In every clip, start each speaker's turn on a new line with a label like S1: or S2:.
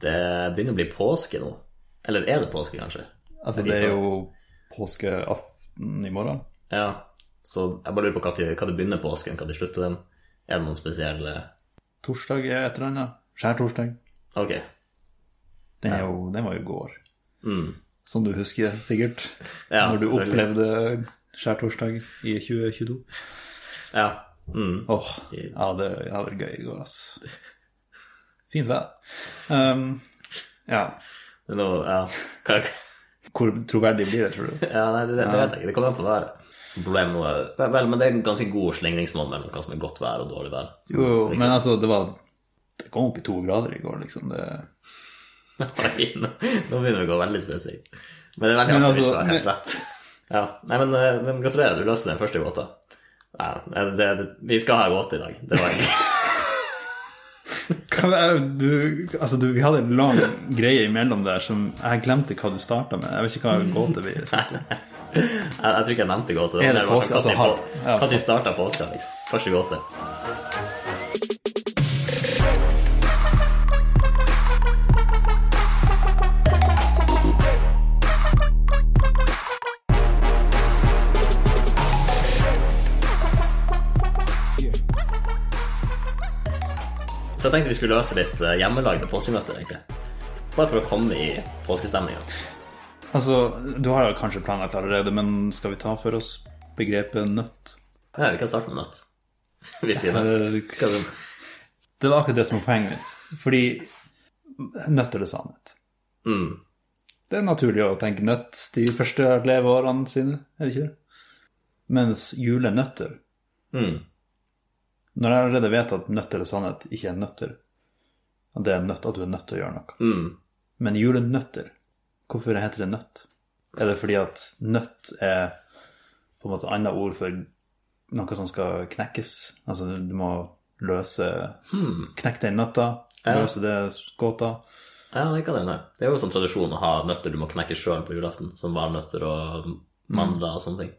S1: Det begynner å bli påske nå. Eller er det påske, kanskje?
S2: Altså,
S1: Jeg
S2: det er
S1: liker-
S2: jo påskeaften i morgen.
S1: Ja. Så jeg bare lurer på hva, tid- hva det begynner påsken, hva det slutter den. Er det noen eh, spesielle
S2: Torsdag er et eller annet. Skjærtorsdag.
S1: Ok.
S2: Den, er jo, den var jo i går.
S1: Mm.
S2: Som du husker sikkert.
S1: Ja,
S2: når du
S1: selvfølgelig.
S2: opplevde skjærtorsdag i 2022.
S1: Ja. Mm.
S2: Åh, ja, det ja, det var gøy i går, altså. Fint vær. Um, ja.
S1: Det er noe, ja. Hva,
S2: Hvor troverdig blir det, tror du?
S1: Ja, nei, det, det vet jeg ikke. Det kommer an på været. Problemet nå er vel, vel, men det er en ganske god slingringsmål mellom hva som er godt vær og dårlig vær. Så,
S2: Jo, jo, men altså, det var Det kom opp i to grader i går, liksom. Det,
S1: Nei, nå, nå begynner vi å gå veldig spesifikt. Men det er veldig
S2: Men
S1: artig
S2: altså,
S1: hvis du har helt rett. Ja, nei, men, eh, men gratulerer, du løste den første gåta. Ja, det, det, vi skal ha gåte i dag. Det var egentlig
S2: Hva er det du Altså, du, vi hadde en lang greie imellom der som Jeg glemte hva du starta med. Jeg vet ikke hva gåte vi snakker om.
S1: Jeg, jeg tror ikke jeg nevnte gåte.
S2: Er det
S1: var
S2: påske? Altså,
S1: sånn,
S2: har- ja.
S1: Når starta påska, liksom? Første gåte. Så jeg tenkte vi skulle løse litt eh, hjemmelagde påskemøter, egentlig. Bare for å komme i påskestemninga.
S2: Altså, du har jo kanskje planlagt allerede, men skal vi ta for oss begrepet nøtt?
S1: Ja, vi kan starte med nøtt. Hvis vi er nødt.
S2: Eh,
S1: Hva er det?
S2: Det var akkurat det som var poenget mitt. Fordi nøtt eller sannhet?
S1: Mm.
S2: Det er naturlig å tenke nøtt de første leveårene sine, er det ikke det? Mens julenøtter
S1: Mm.
S2: Når jeg allerede vet at nøtt eller sannhet ikke er nøtter, at det er nøtt, at du er nødt til å gjøre noe
S1: Mm.
S2: Men julenøtter, hvorfor heter det nøtt? Er det fordi at nøtt er på en måte annet ord for noe som skal knekkes? Altså du må løse Knekke den nøtta, løse det gåta.
S1: Ja, det kan hende. Det er jo sånn tradisjon å ha nøtter du må knekke sjøl på julaften, som valnøtter og mandler og sånne ting.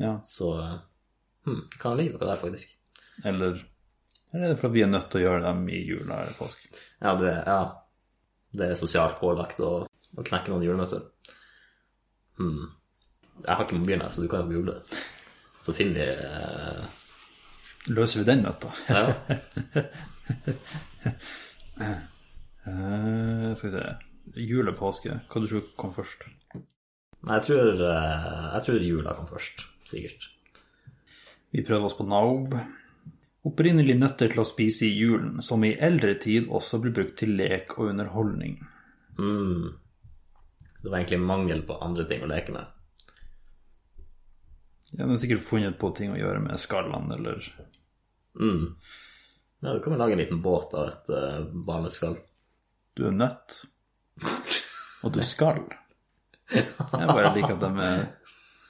S2: Ja.
S1: Så hmm, det kan ligge noe der, faktisk.
S2: Eller, eller er det fordi vi er nødt til å gjøre dem i jula eller påske?
S1: Ja, det, ja. det er sosialt pålagt å, å knekke noen julenøtter. Hmm. Jeg har ikke mobilen her, så du kan jo google det. Så finner vi eh,
S2: Løser vi den nøtta?
S1: Ja,
S2: Eh, skal vi se Jul og påske, hva du tror kom først?
S1: Nei, jeg tror, eh, jeg tror jula kom først, sikkert.
S2: Vi prøver oss på naub. Opprinnelig nøtter til å spise i julen, som i eldre tid også blir brukt til lek og underholdning.
S1: Mm. Så det var egentlig mangel på andre ting å leke med.
S2: Ja, Den er sikkert funnet på ting å gjøre med skallene eller
S1: Mm. Ja, du kan vel lage en liten båt av et uh, barneskall.
S2: Du er nødt, og du skal. Jeg bare liker at de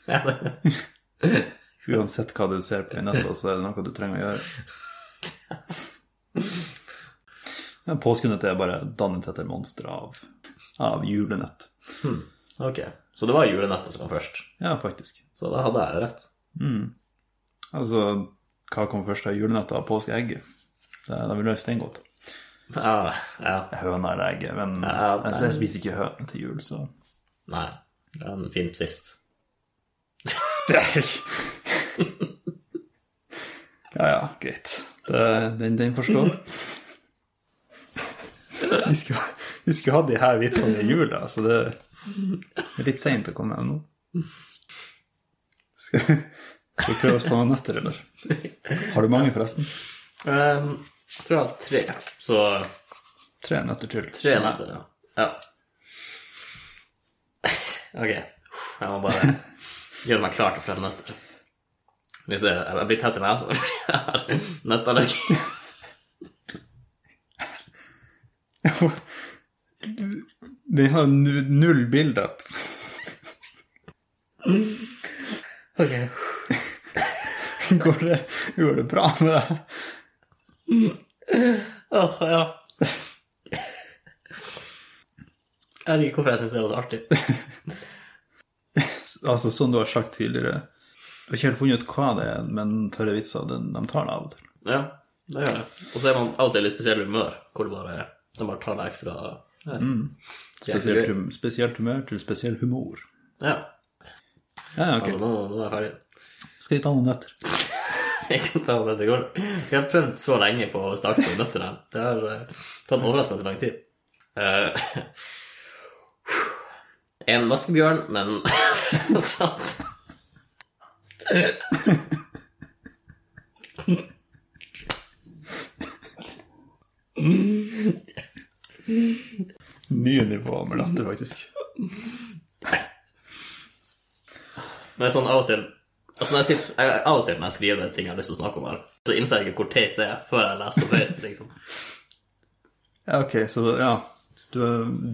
S2: er Uansett hva du ser på i nøtta, så er det noe du trenger å gjøre. Men Påskenøtt er bare dannet etter monstre av, av julenøtt.
S1: Ok, så det var julenettet som kom først.
S2: Ja, faktisk.
S1: Så da hadde jeg jo rett.
S2: Altså, hva kom først av julenøtta og påskeegget? Det, da vil løse den godt.
S1: Ja, ja.
S2: Høna eller egget, men
S1: Ja, det-
S2: jeg spiser ikke høne til jul, så
S1: Nei, det er en fin twist.
S2: Ja, ja, greit. Det, den, den forstår. Vi skulle, vi skulle ha de her vitsene i jula, så det er litt seint å komme med nå. Skal vi skal vi prøve oss på noen nøtter, eller? Har du mange, forresten?
S1: Um, jeg tror jeg har tre. Så
S2: Tre nøtter til.
S1: tre netter, ja. ja. Ok, jeg må bare gjøre meg klar til flere nøtter. Hvis det, jeg blir tett i nesa fordi jeg har nøttallergi.
S2: Den har sånn nu- null build-up.
S1: Okay.
S2: Går, det- går det bra med deg?
S1: Åh, ja. Jeg vet ikke hvorfor jeg syns det var så artig.
S2: Altså, som du har sagt tidligere Jeg har ikke helt funnet ut hva det er, men tørre vitser, den, de tar det av og til.
S1: Ja, det gjør jeg. Og så er man av og til i spesielt humør, hvor det bare, det bare tar deg ekstra Jeg vet ikke.
S2: Mm. Spesielt, hum spesielt humør til spesiell humor.
S1: Ja.
S2: Ja, ja, ok.
S1: Altså, nå, nå er jeg ferdig.
S2: Skal vi ta noen nøtter?
S1: Jeg kan ta den etter går. Vi har prøvd så lenge på å starte med nøtter her. Det har eh, tatt overraskende lang tid. Eh, en vaskebjørn, men satt.
S2: Nye nivåer med latter, faktisk.
S1: Men sånn av og til Altså når jeg sitter, jeg, Av og til når jeg skriver det ting jeg har lyst til å snakke om, her, så innser jeg ikke hvor teit det er, før jeg leser det høyt. liksom.
S2: Ja, ok, så ja. Du,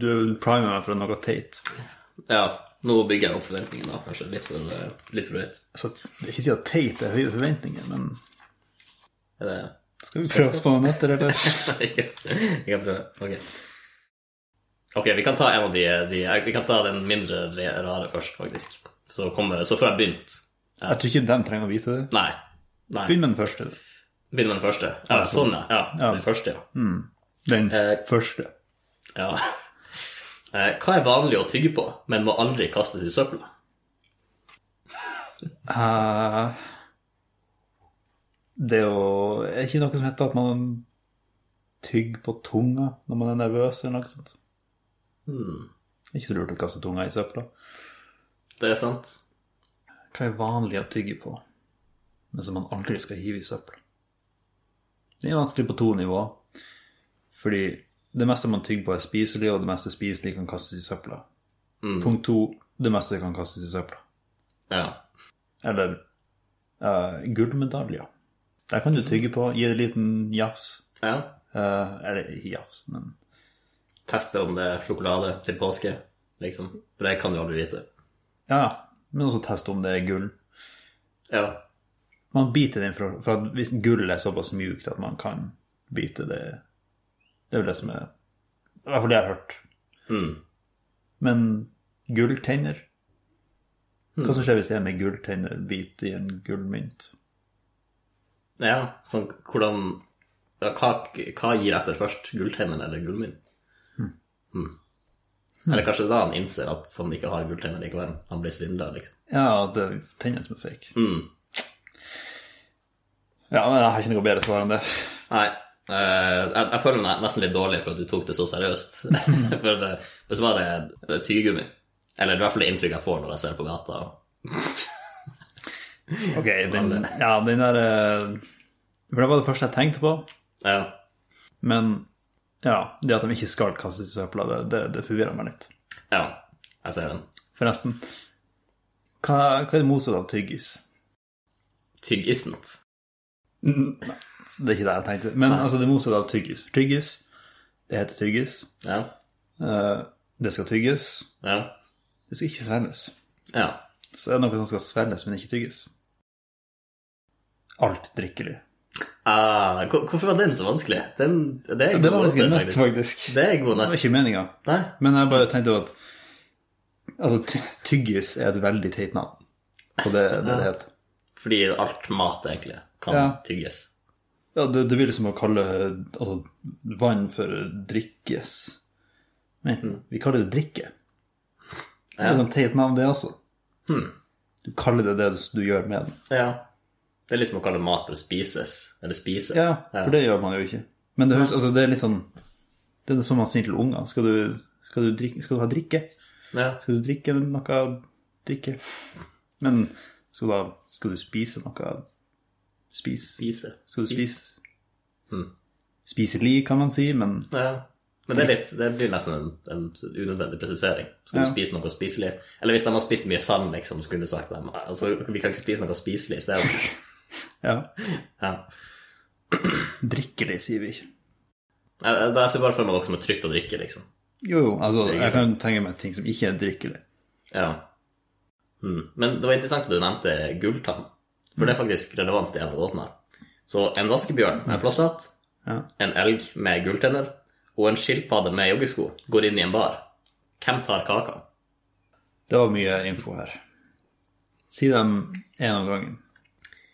S2: du primer meg for noe teit.
S1: Ja, Nå bygger jeg opp forventningene, da, kanskje. Litt for, eh, litt for høyt.
S2: Altså, jeg vil ikke si at teit er høye forventninger, men
S1: Er det
S2: skal vi prøve oss på noen nøtter, eller?
S1: Jeg kan prøve. Ok. Ok, vi kan ta en av de, de Vi kan ta den mindre re- rare først, faktisk. Så, kommer, så får jeg begynt.
S2: Jeg tror ikke de trenger å vite det.
S1: Nei. Nei.
S2: Begynn med den første.
S1: Begynn med den første. Ja, sånn, ja. ja. Mm. Den første, ja.
S2: Den
S1: Eh.
S2: første.
S1: ja. Eh, Hva er vanlig å tygge på, men må aldri kastes i søpla?
S2: Eh, det er jo Er ikke noe som heter at man tygger på tunga når man er nervøs, eller noe sånt? Ikke så lurt å kaste tunga i søpla.
S1: Det er sant.
S2: Hva er vanlig å tygge på, men som man aldri skal hive i søpla? Det er vanskelig på to nivåer. Fordi det meste man tygger på, er spiselig, og det meste spiselig kan kastes i søpla. Punkt to det meste kan kastes i søpla.
S1: Ja.
S2: Eller eh, gullmedaljer. Der kan du tygge på, gi en liten jafs.
S1: ja.
S2: Eh, eller ikke jafs, men
S1: Teste om det er sjokolade til påske, liksom. For det kan du aldri vite.
S2: Ja, ja. Men også teste om det er gull.
S1: Ja.
S2: Man biter den fra, for at hvis gull er såpass mjukt at man kan bite det Det er vel det som er I hvert fall det jeg har hørt.
S1: Mm.
S2: Men gulltenner Hva som skjer hvis jeg med gulltenner biter i en gullmynt?
S1: ja sånn hvordan ja, hva, hva gir etter først? Gulltennene eller gullmynt? Mm. Eller kanskje da han innser at han ikke har gulltenner likevel. Han blir svindla, liksom. Hmm.
S2: Ja, det er tennene som er fake. Ja, men jeg har ikke noe bedre svar enn det.
S1: Nei. eh, jeg, jeg føler meg nesten litt dårlig for at du tok det så seriøst. for det, det svaret er tyggegummi. Eller i hvert fall det inntrykket jeg får når jeg ser på gata.
S2: Ok, den, ja, den der eh, For det var det første jeg tenkte på.
S1: Ja.
S2: Men ja, det at de ikke skal kastes i søpla, det, det, det forvirrer meg litt.
S1: ja. Jeg ser den.
S2: Forresten, hva, hva er det motsatte av tyggis?
S1: Tyggisent.
S2: Mm, Nei, det er ikke det jeg tenkte. Men altså, det motsatte av tyggis. For tyggis, det heter tyggis.
S1: Ja.
S2: Eh, det skal tygges.
S1: Ja.
S2: Det skal ikke svelges.
S1: ja.
S2: Så er det noe som skal svelges, men ikke tygges. Alt drikkelig.
S1: Ah, hvor- hvorfor var den så vanskelig? Den, det er en
S2: Det var
S1: god
S2: faktisk en
S1: nøtt,
S2: nøtt, faktisk.
S1: Det er en god
S2: Det var
S1: nøtt.
S2: ikke meninga.
S1: Nei?
S2: Men jeg bare tenkte at Altså, ty- tyggis er et veldig teit navn. Og det er det det heter.
S1: Fordi alt mat egentlig kan
S2: Ja.
S1: tygges.
S2: Ja, det, det blir liksom å kalle altså, vann for drikkes. Nei, vi kaller det drikke. Det er et teit navn, det også. Du kaller det det du gjør med den.
S1: Ja. Det er litt som å kalle mat for å spises. Eller spise.
S2: Ja, for det gjør man jo ikke. Men det, høres, altså, det er litt sånn Det er det som man sier til unger. Skal du, skal du, drikke, skal du ha drikke?
S1: Ja.
S2: Skal du drikke noe drikke? Men skal du, ha, skal du spise noe spis?
S1: Spise.
S2: Skal du spise Spiselig, kan man si, men
S1: Ja. Men det, er litt, det blir nesten en, en unødvendig presisering. Skal du
S2: Ja.
S1: spise noe spiselig? Eller hvis de har spist mye sand, liksom, så kunne du sagt dem altså, Vi kan ikke spise noe spiselig i stedet.
S2: ja.
S1: Ja.
S2: Drikkelig, sier vi.
S1: Jeg, jeg, jeg ser bare for meg noe som er trygt å drikke, liksom.
S2: Jo, jo, altså,
S1: ikke
S2: jeg kan tenke meg ting som ikke er drikkelig.
S1: Ja. Mm. Men det var interessant at du nevnte gulltann, for det er faktisk relevant i en av gåtene her. Så en vaskebjørn med flosshatt,
S2: Ja.
S1: en elg med gulltenner og en skilpadde med joggesko går inn i en bar. Hvem tar kaka?
S2: Det var mye info her. Si dem en om gangen.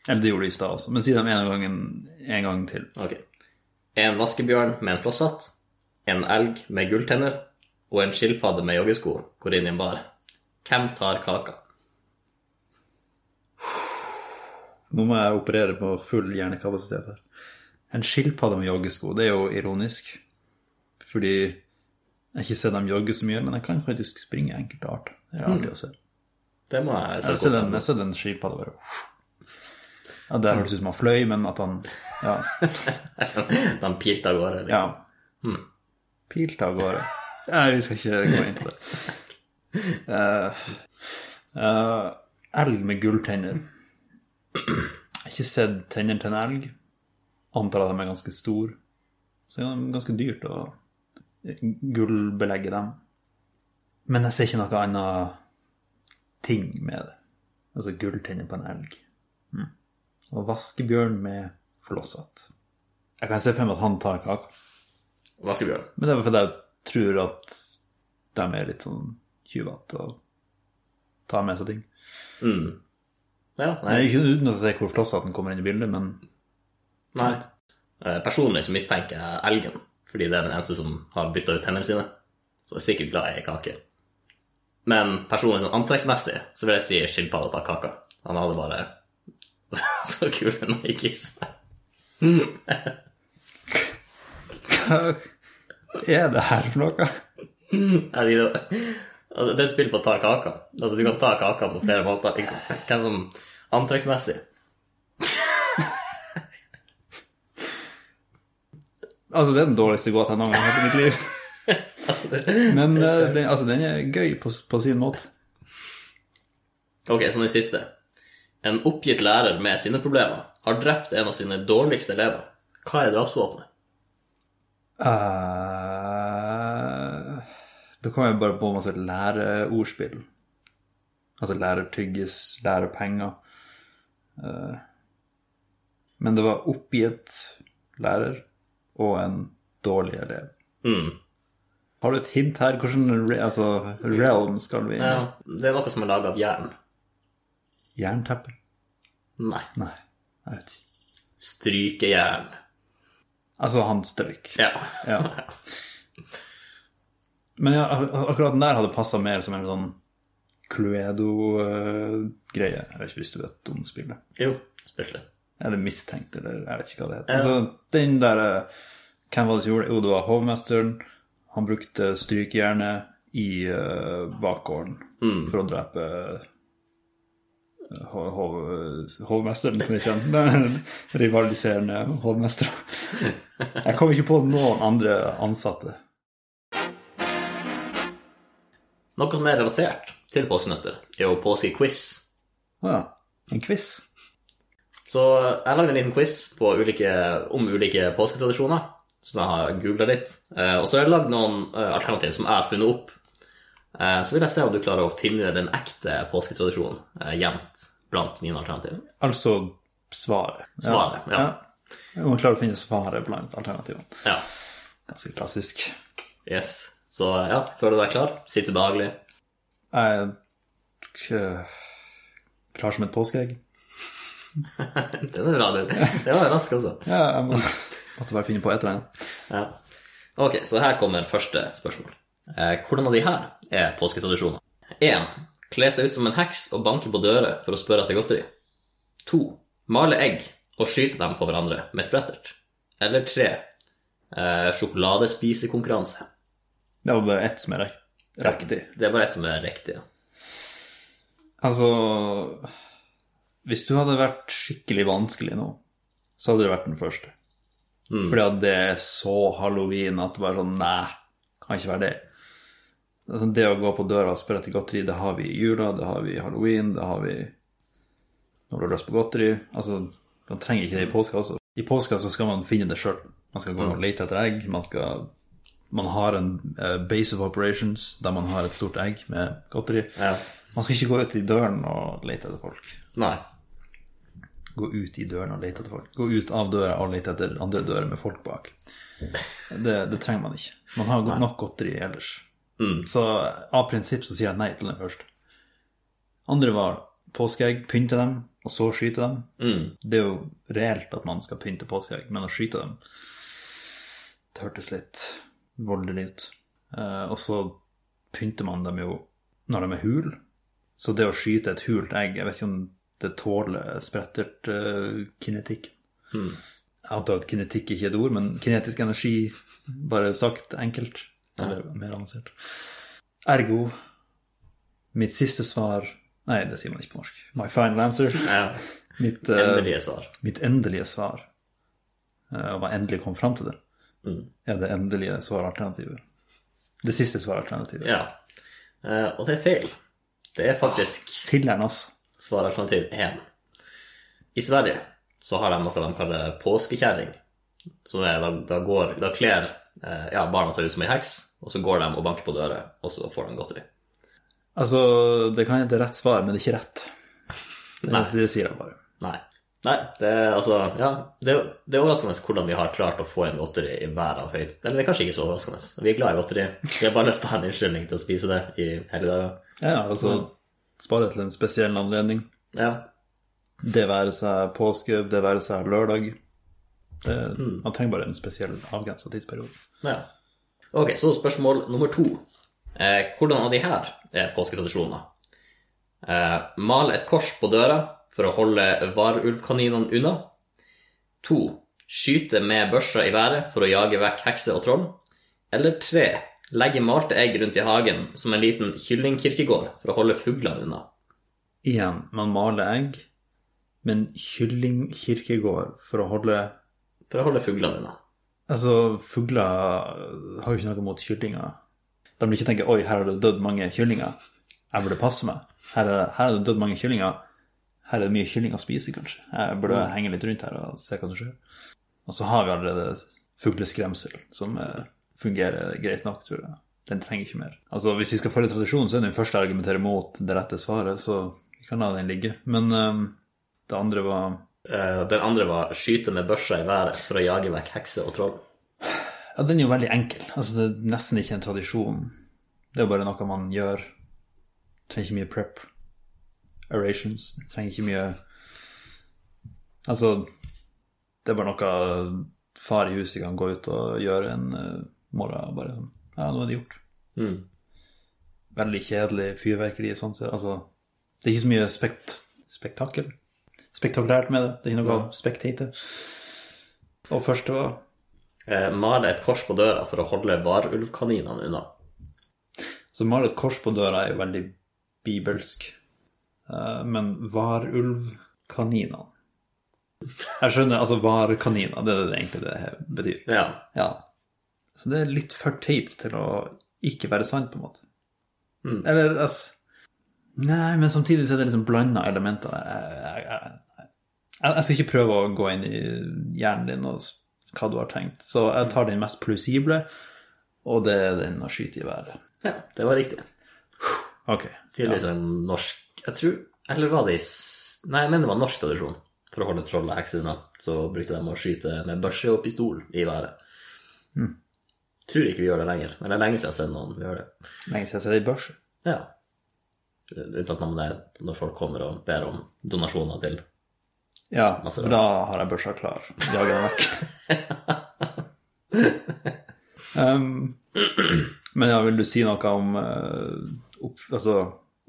S2: Eller det gjorde du i stad også, men si dem en om gangen en gang til.
S1: Ok. En vaskebjørn med en flosshatt, en elg med gulltenner og en skilpadde med joggesko går inn i en bar. Hvem tar kaka?
S2: Nå må jeg operere på full hjernekapasitet her. En skilpadde med joggesko, det er jo ironisk. Fordi jeg har ikke sett dem jogge så mye, men jeg kan faktisk springe enkelte arter. Det er artig å se.
S1: Det må jeg
S2: Jeg har
S1: søke
S2: sett
S1: opp.
S2: en, jeg har sett en skilpadde bare ja, Det hørtes ut som han fløy, men at han Ja.
S1: De pirte av gårde.
S2: ja.
S1: Liksom.
S2: Pilte av gårde. Hmm. Nei, vi skal ikke gå inn på det. Eh, eh, elg med gulltenner. Jeg har ikke sett tennene til en elg. Antar at de er ganske store. Så det er ganske dyrt å gullbelegge dem. Men jeg ser ikke noe annet ting med det. Altså gulltenner på en elg. Mm. Og vaskebjørn med flosshatt. Jeg kan se for meg at han tar kaka.
S1: Vaskebjørn.
S2: Men det er fordi jeg tror at de er litt sånn tjuvete og tar med seg ting.
S1: Hmm. Ja, nei.
S2: Det er ikke uten at jeg ser hvor flosshatten kommer inn i bildet, men
S1: nei. Eh, Personlig så mistenker jeg elgen, fordi det er den eneste som har bytta ut tennene sine. Så jeg er sikkert glad i kake. Men personlig sånn antrekksmessig så vil jeg si skilpadda tar kaka. Han hadde bare så kule Nikes.
S2: hva er det her for noe?
S1: Ja, de- Altså, Det er et spill på å ta kaka. Altså, du kan ta kaka på flere måter. Liksom. Hvem som Antrekksmessig.
S2: Altså, det er den dårligste gåta jeg noen gang har hørt i mitt liv. Men eh, den, altså, den er gøy på, på sin måte.
S1: Ok, så den siste. En oppgitt lærer med sine problemer har drept en av sine dårligste elever. Hva er drapsvåpenet?
S2: Eh, da kommer jeg bare på masse læreordspill. Altså lærertyggis, lærepenger. Eh, men det var oppgitt lærer og en dårlig elev.
S1: Mm.
S2: Har du et hint her? Hvilken re altså, realm skal vi inn i?
S1: Ja, Eh, det er noe som er laga av jern.
S2: Jernteppe?
S1: Nei.
S2: Nei, jeg vet ikke.
S1: Strykejern.
S2: Altså, han strøyk.
S1: Ja.
S2: Ja. Men ja, ak- akkurat den der hadde passa mer som en sånn Cluedo-greie. Jeg vet ikke hvis du vet om spillet.
S1: Jo, spilte det.
S2: Eller mistenkt, eller jeg vet ikke hva det heter. Altså, den der eh, Hvem var det som gjorde det? Jo, det var hovmesteren. Han brukte strykejernet i eh, bakgården for å drepe eh, hov, hov, hovmesteren, kan jeg kjenne. Rivaliserende hovmestere. Jeg kom ikke på noen andre ansatte.
S1: Noe som er relatert til påskenøtter, er jo påskequiz.
S2: Å ja. En quiz?
S1: Så jeg lagde en liten quiz på ulike, om ulike påsketradisjoner, som jeg har googla litt. Eh, og så har jeg lagd noen eh, alternativ som jeg har funnet opp. Eh, så vil jeg se om du klarer å finne den ekte påsketradisjonen eh, gjemt blant mine alternativ.
S2: Altså svaret.
S1: Svaret, ja.
S2: ja. Man klarer å finne svaret blant alternativene.
S1: Ja.
S2: Ganske klassisk.
S1: Yes. Så ja, føler du deg klar? Sitter du behagelig?
S2: Jeg er k- klar som et påskeegg.
S1: Den er bra, du. Det var rask, altså.
S2: Ja, jeg må, måtte bare finne på et eller annet.
S1: Ja. Ok, så her kommer første spørsmål. Eh, hvordan av de her er påsketradisjoner? 1. Kle seg ut som en heks og banke på dører for å spørre etter godteri. 2. Male egg og skyte dem på hverandre med sprettert. Eller 3. Eh, sjokoladespisekonkurranse.
S2: Det var bare ett som er rek- riktig.
S1: Det er bare ett som er riktig. ja.
S2: Altså Hvis du hadde vært skikkelig vanskelig nå, så hadde det vært den første. Fordi at det er så halloween at det bare er sånn Nei, kan ikke være det. Altså, det å gå på døra og spørre etter godteri, det har vi i jula, det har vi i halloween, det har vi når du har lyst på godteri. Altså, man trenger ikke det i påska også. I påska så skal man finne det sjøl. Man skal gå og lete etter egg. Man, skal, man har en eh, base of operations der man har et stort egg med godteri.
S1: Ja.
S2: Man skal ikke gå ut i døren og lete etter folk.
S1: Nei.
S2: Gå ut i døren og lete etter folk. Gå ut av døra og lete etter andre dører med folk bak. Det, det trenger man ikke. Man har godt nok godteri ellers.
S1: Mm.
S2: Så av prinsipp så sier jeg nei til den først. Andre var påskeegg, pynte dem, og så skyte dem.
S1: Mm.
S2: Det er jo reelt at man skal pynte påskeegg, men å skyte dem Det hørtes litt voldelig ut. Eh, og så pynter man dem jo når de er hul. Så det å skyte et hult egg, jeg vet ikke om det tåler sprettert eh, kinetikk. Jeg antar at kinetikk ikke er et ord, men kinetisk energi, bare sagt enkelt, eller mer avansert. Ergo, mitt siste svar Nei, det sier man ikke på norsk. My final answer.
S1: Ja.
S2: Mitt, eh,
S1: Endelige svar.
S2: mitt endelige svar, eh, og hva endelig kom fram til det, er det endelige svaralternativet. Det siste svaralternativet.
S1: Ja. Eh, og det er feil. Det er faktisk
S2: Filleren, altså.
S1: svaralternativ 1. sånn I Sverige så har de noe de kaller påskekjerring. Som er, da, da, går, da kler eh, ja, barna seg ut som ei heks, og så går de og banker på døra, og så får de godteri.
S2: Altså, det kan hende rett svar, men det er ikke rett. Det, det sier jeg bare.
S1: Nei. Nei, det er altså Ja, det, er- det er overraskende hvordan vi har klart å få inn godteri i hver av høyt... Eller det er kanskje ikke så overraskende. Vi er glad i godteri. Vi har bare lyst til å ha en unnskyldning til å spise det i hele dagen.
S2: Ja, altså, spare til en spesiell anledning.
S1: Ja.
S2: Det være seg påske, det være seg lørdag. Det, Man trenger bare en spesiell avgrensa tidsperiode.
S1: ja. Ok, så spørsmål nummer to. Eh, hvordan av de her er påsketradisjoner? Eh, mal et kors på døra for å holde varulvkaninene unna. To. Skyte med børsa i været for å jage vekk hekser og troll. Eller tre. Legge malte egg rundt i hagen som en liten kyllingkirkegård for å holde fuglene unna.
S2: Igjen, man maler egg, men kylling kirkegård for å holde
S1: For å holde fuglene unna.
S2: Altså, fugler har jo ikke noe mot kyllinger. De vil ikke tenke 'oi, her har det dødd mange kyllinger'. Jeg burde passe meg. Her er, her er det dødd mange kyllinger. Her er det mye kylling å spise, kanskje. Jeg burde henge litt rundt her og se hva som skjer. Og så har vi allerede fugleskremsel, som eh, fungerer greit nok, tror jeg. Den trenger ikke mer. Altså, Hvis vi skal følge tradisjonen, så er den første jeg argumenterer mot det rette svaret, så vi kan la den ligge. Men eh, det andre var
S1: Eh, den andre var skyte med børsa i været for å jage vekk hekser og troll.
S2: Ja, den er jo veldig enkel. Altså, det er nesten ikke en tradisjon. Det er jo bare noe man gjør. Trenger ikke mye prep. Orations. Trenger ikke mye Altså, det er bare noe far i huset kan gå ut og gjøre en eh, morgen. og Bare sånn Ja, nå er det gjort.
S1: Mm.
S2: Veldig kjedelig fyrverkeri og sånt. så- Altså, det er ikke så mye spekt spektakel. Spektakulært med det. Det er ikke noe å spektate. Og første var
S1: Eh, male et kors på døra for å holde varulvkaninene unna.
S2: Så male et kors på døra er jo veldig bibelsk. Eh, Men varulvkaninene Jeg skjønner, altså varkaniner, det er det egentlig det her betyr.
S1: Ja.
S2: Ja. Så det er litt for teit til å ikke være sant, på en måte. Eller altså Nei, men samtidig så er det liksom blanda elementer der. Jeg, jeg, jeg, jeg- jeg skal ikke prøve å gå inn i hjernen din og s- hva du har tenkt, så jeg tar den mest plausible, og det er den å skyte i været.
S1: ja. Det var riktig.
S2: Ok.
S1: Tydeligvis en norsk Jeg tror Eller var det i s- Nei, jeg mener det var en norsk tradisjon. For å holde troll og hekser unna, så brukte de å skyte med børse og pistol i været. Tror ikke vi gjør det lenger. Men det er lenge siden jeg har sett noen gjøre det.
S2: Lenge siden jeg har sett ei børse.
S1: Ja. Unntatt når, det, er- når folk kommer og ber om donasjoner til
S2: Ja,
S1: Masse
S2: for da har jeg børsa klar. Jager den vekk. um, men ja, vil du si noe om eh, opp, altså,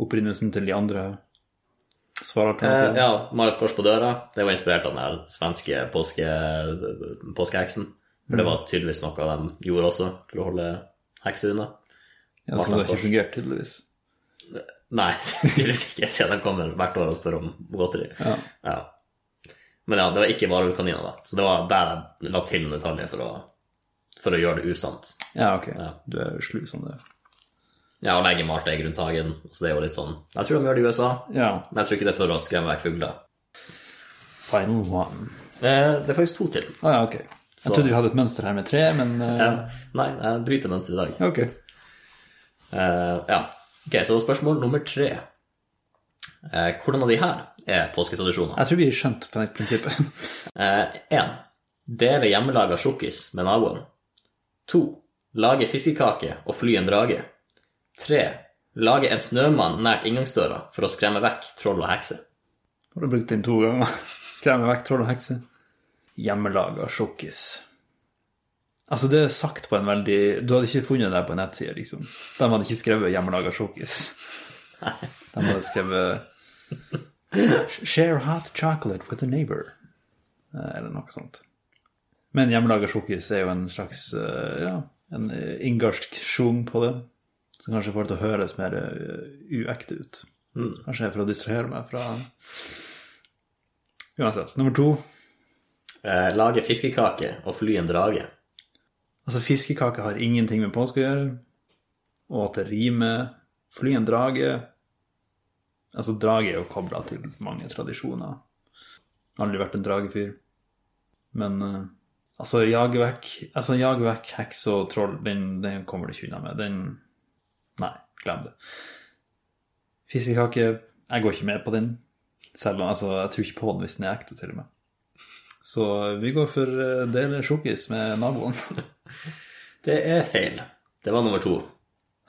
S2: opprinnelsen til de andre
S1: Eh,
S2: svaralternativene?
S1: ja, Marit Kors på døra. Det var inspirert av den her svenske påske, påskeheksen. For det var tydeligvis noe de gjorde også for å holde hekser unna.
S2: ja, som det har
S1: Kors.
S2: ikke fungert, tydeligvis.
S1: Nei, tydeligvis ikke, siden de kommer hvert år og spør om godteri.
S2: Ja.
S1: Ja. Men ja, det var ikke varulvkaniner, da. Så det var der jeg la til en detalj for å, for å gjøre det usant.
S2: Ja, ok.
S1: Ja.
S2: Du er slu som det.
S1: Ja, og legge malt egg rundt hagen. Så det er jo litt sånn Jeg tror de gjør det i USA,
S2: Ja.
S1: men jeg tror ikke det er for å skremme vekk fugler.
S2: Final one.
S1: Eh, det er faktisk to til.
S2: Å Ah, ja, ok. Jeg trodde vi hadde et mønster her med tre, men eh,
S1: Eh, nei, jeg bryter mønsteret i dag.
S2: Ok.
S1: Eh, ja. Ok, så spørsmål nummer tre. Eh, hvordan av de her er påsketradisjoner?
S2: Jeg tror vi skjønte på det prinsippet.
S1: Eh, en, Dele hjemmelaga sjokkis med naboen. To, Lage fiskekake og fly en drage. Tre, Lage en snømann nært inngangsdøra for å skremme vekk troll og hekser.
S2: Har du brukt den to ganger? Skremme vekk troll og hekse. Hjemmelaga sjokkis. Altså, det er sagt på en veldig Du hadde ikke funnet det her på en nettside, liksom. De hadde ikke skrevet 'hjemmelaga sjokis'. De hadde skrevet 'Share hot chocolate with a neighbor', eh, eller noe sånt. Men hjemmelaga sjokis er jo en slags eh, ja, en eh, ungarsk sjung på det, som kanskje får det til å høres mer eh, uekte ut. Kanskje det er for å distrahere meg fra Uansett. Nummer to.
S1: Eh, lage fiskekake og fly en drage.
S2: Altså, fiskekake har ingenting med påske å gjøre. Og at det rimer. Fly en drage Altså, drage er jo kobla til mange tradisjoner. Aldri vært en dragefyr. Men eh, altså, jage vekk altså, jage vekk heks og troll, den, den kommer du ikke unna med. Den Nei, glem det. Fiskekake Jeg går ikke med på den. Selv om altså, Jeg tror ikke på den hvis den er ekte, til og med. Så vi går for eh, del sjokis med naboen.
S1: Det er feil. Det var nummer to.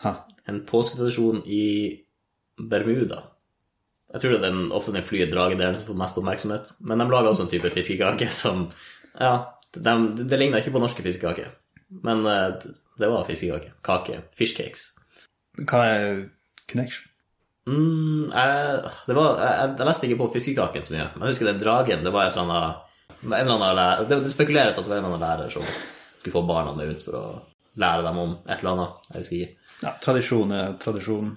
S2: Hæ?
S1: En påsketradisjon i Bermuda. Jeg tror det er den, ofte den flyet dragedelen som får mest oppmerksomhet. Men de lager også en type fiskekake som Ja, de, det ligner ikke på norske fiskekaker. Men eh, det var fiskekake. Kake. Fishcakes.
S2: Hva er connection?
S1: Mm, jeg, det var, jeg, jeg leste ikke på fiskekaken så mye. Men jeg husker den dragen. Det var et eller annet, en eller annen lærer, det, det spekuleres at det var en eller annen lærer som skulle få barna med ut for å lære dem om et eller annet. Jeg husker ikke.
S2: Ja, tradisjon er tradisjon.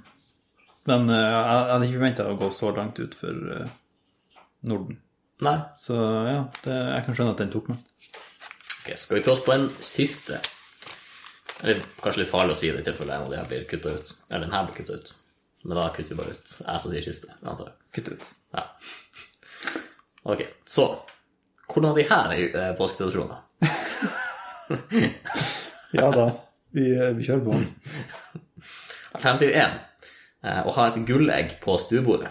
S2: Men eh, jeg jeg hadde ikke forventa å gå så langt ut for eh, Norden.
S1: Nei.
S2: Så ja, det, jeg kan skjønne at den tok meg.
S1: Ok, skal vi prøve oss på en siste? Eller kanskje litt farlig å si det i tilfelle en av de her blir kutta ut. Eller den her blir kutta ut. Men da kutter vi bare ut jeg som sier siste, antar jeg.
S2: Kutt ut.
S1: Ja. Ok, så Hvordan av de her er eh, påsketradisjoner?
S2: Ja da, vi, kjører på.
S1: Alternativ 1 eh, å ha et gullegg på stuebordet.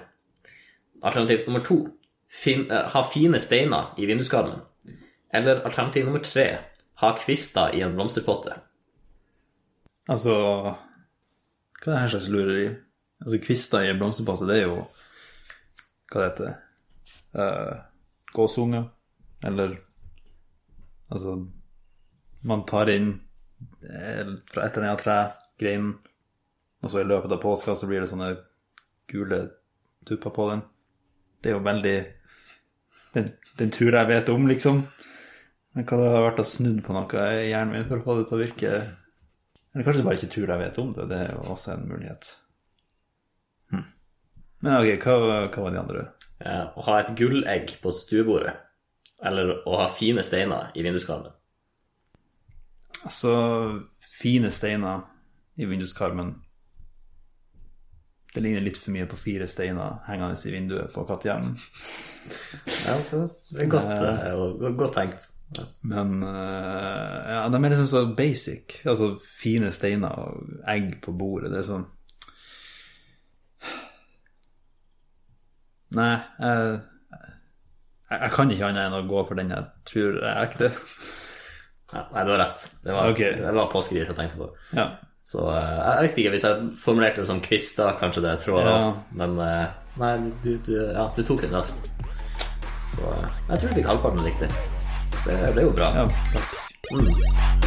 S1: Alternativ nummer 2 fin, eh, ha fine steiner i vinduskarmen. Eller alternativ nummer 3 ha kvister i en blomsterpotte.
S2: Altså Hva er det her slags lureri? Altså, kvister i en blomsterpotte, det er jo Hva det heter det? Eh, Gåsunger? Eller Altså, man tar inn eh, fra et eller annet tre, greinen, og så i løpet av påska så blir det sånne gule tupper på den. Det er jo veldig Den, den tror jeg vet om, liksom. Men hva det har vært å snudd på noe i hjernen min for å få det til å virke eller kanskje du bare ikke tror jeg vet om det. Det er jo også en mulighet. Hm. Men ok, hva, hva var de andre?
S1: Eh, å ha et gullegg på stuebordet. Eller å ha fine steiner i vinduskarmen.
S2: Altså, fine steiner i vinduskarmen. Det ligner litt for mye på fire steiner hengende i vinduet på kattehjemmen.
S1: Ja, det er godt, eh, og go- godt tenkt. Ja.
S2: Men eh, ja, de er liksom så basic. Altså fine steiner og egg på bordet. Det er sånn Nei, jeg, jeg, jeg kan ikke annet enn å gå for den jeg tror er ekte.
S1: Ja, nei, du har rett. Det var,
S2: Ok.
S1: det var påskedis jeg tenkte på.
S2: Ja.
S1: Så eh, jeg visste ikke hvis jeg formulerte det som kvister, kanskje det er tråder.
S2: Ja.
S1: Men eh, nei, du, du, ja, du tok den raskt. Så eh, jeg tror du fikk halvparten riktig. Det, det er jo bra.
S2: ja. flott.
S1: Mm.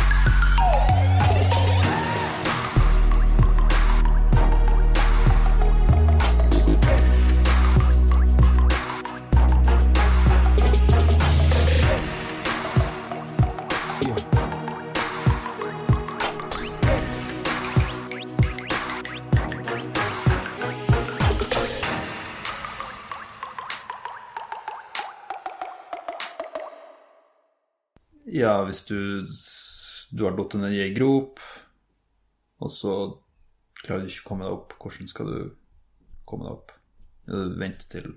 S2: Ja, hvis du, s- du har falt ned i ei grop, og så klarer du ikke å komme deg opp, hvordan skal du komme deg opp? Ja, Du venter til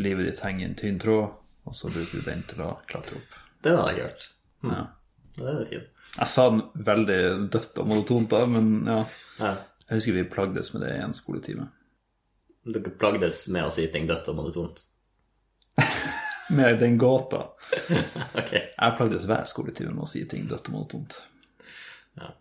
S2: livet ditt henger i en tynn tråd, og så bruker du den til å klatre opp.
S1: Den hadde jeg ikke hørt.
S2: Ja.
S1: Det er fint.
S2: Jeg sa den veldig dødt og monotont da, men ja.
S1: Ja.
S2: Jeg husker vi plagdes med det i en skoletime.
S1: Dere plagdes med å si ting dødt og monotont.
S2: Med den gåta.
S1: Ok.
S2: Jeg plagdes hver skoletime med å si ting dødt og monotont.
S1: Ja.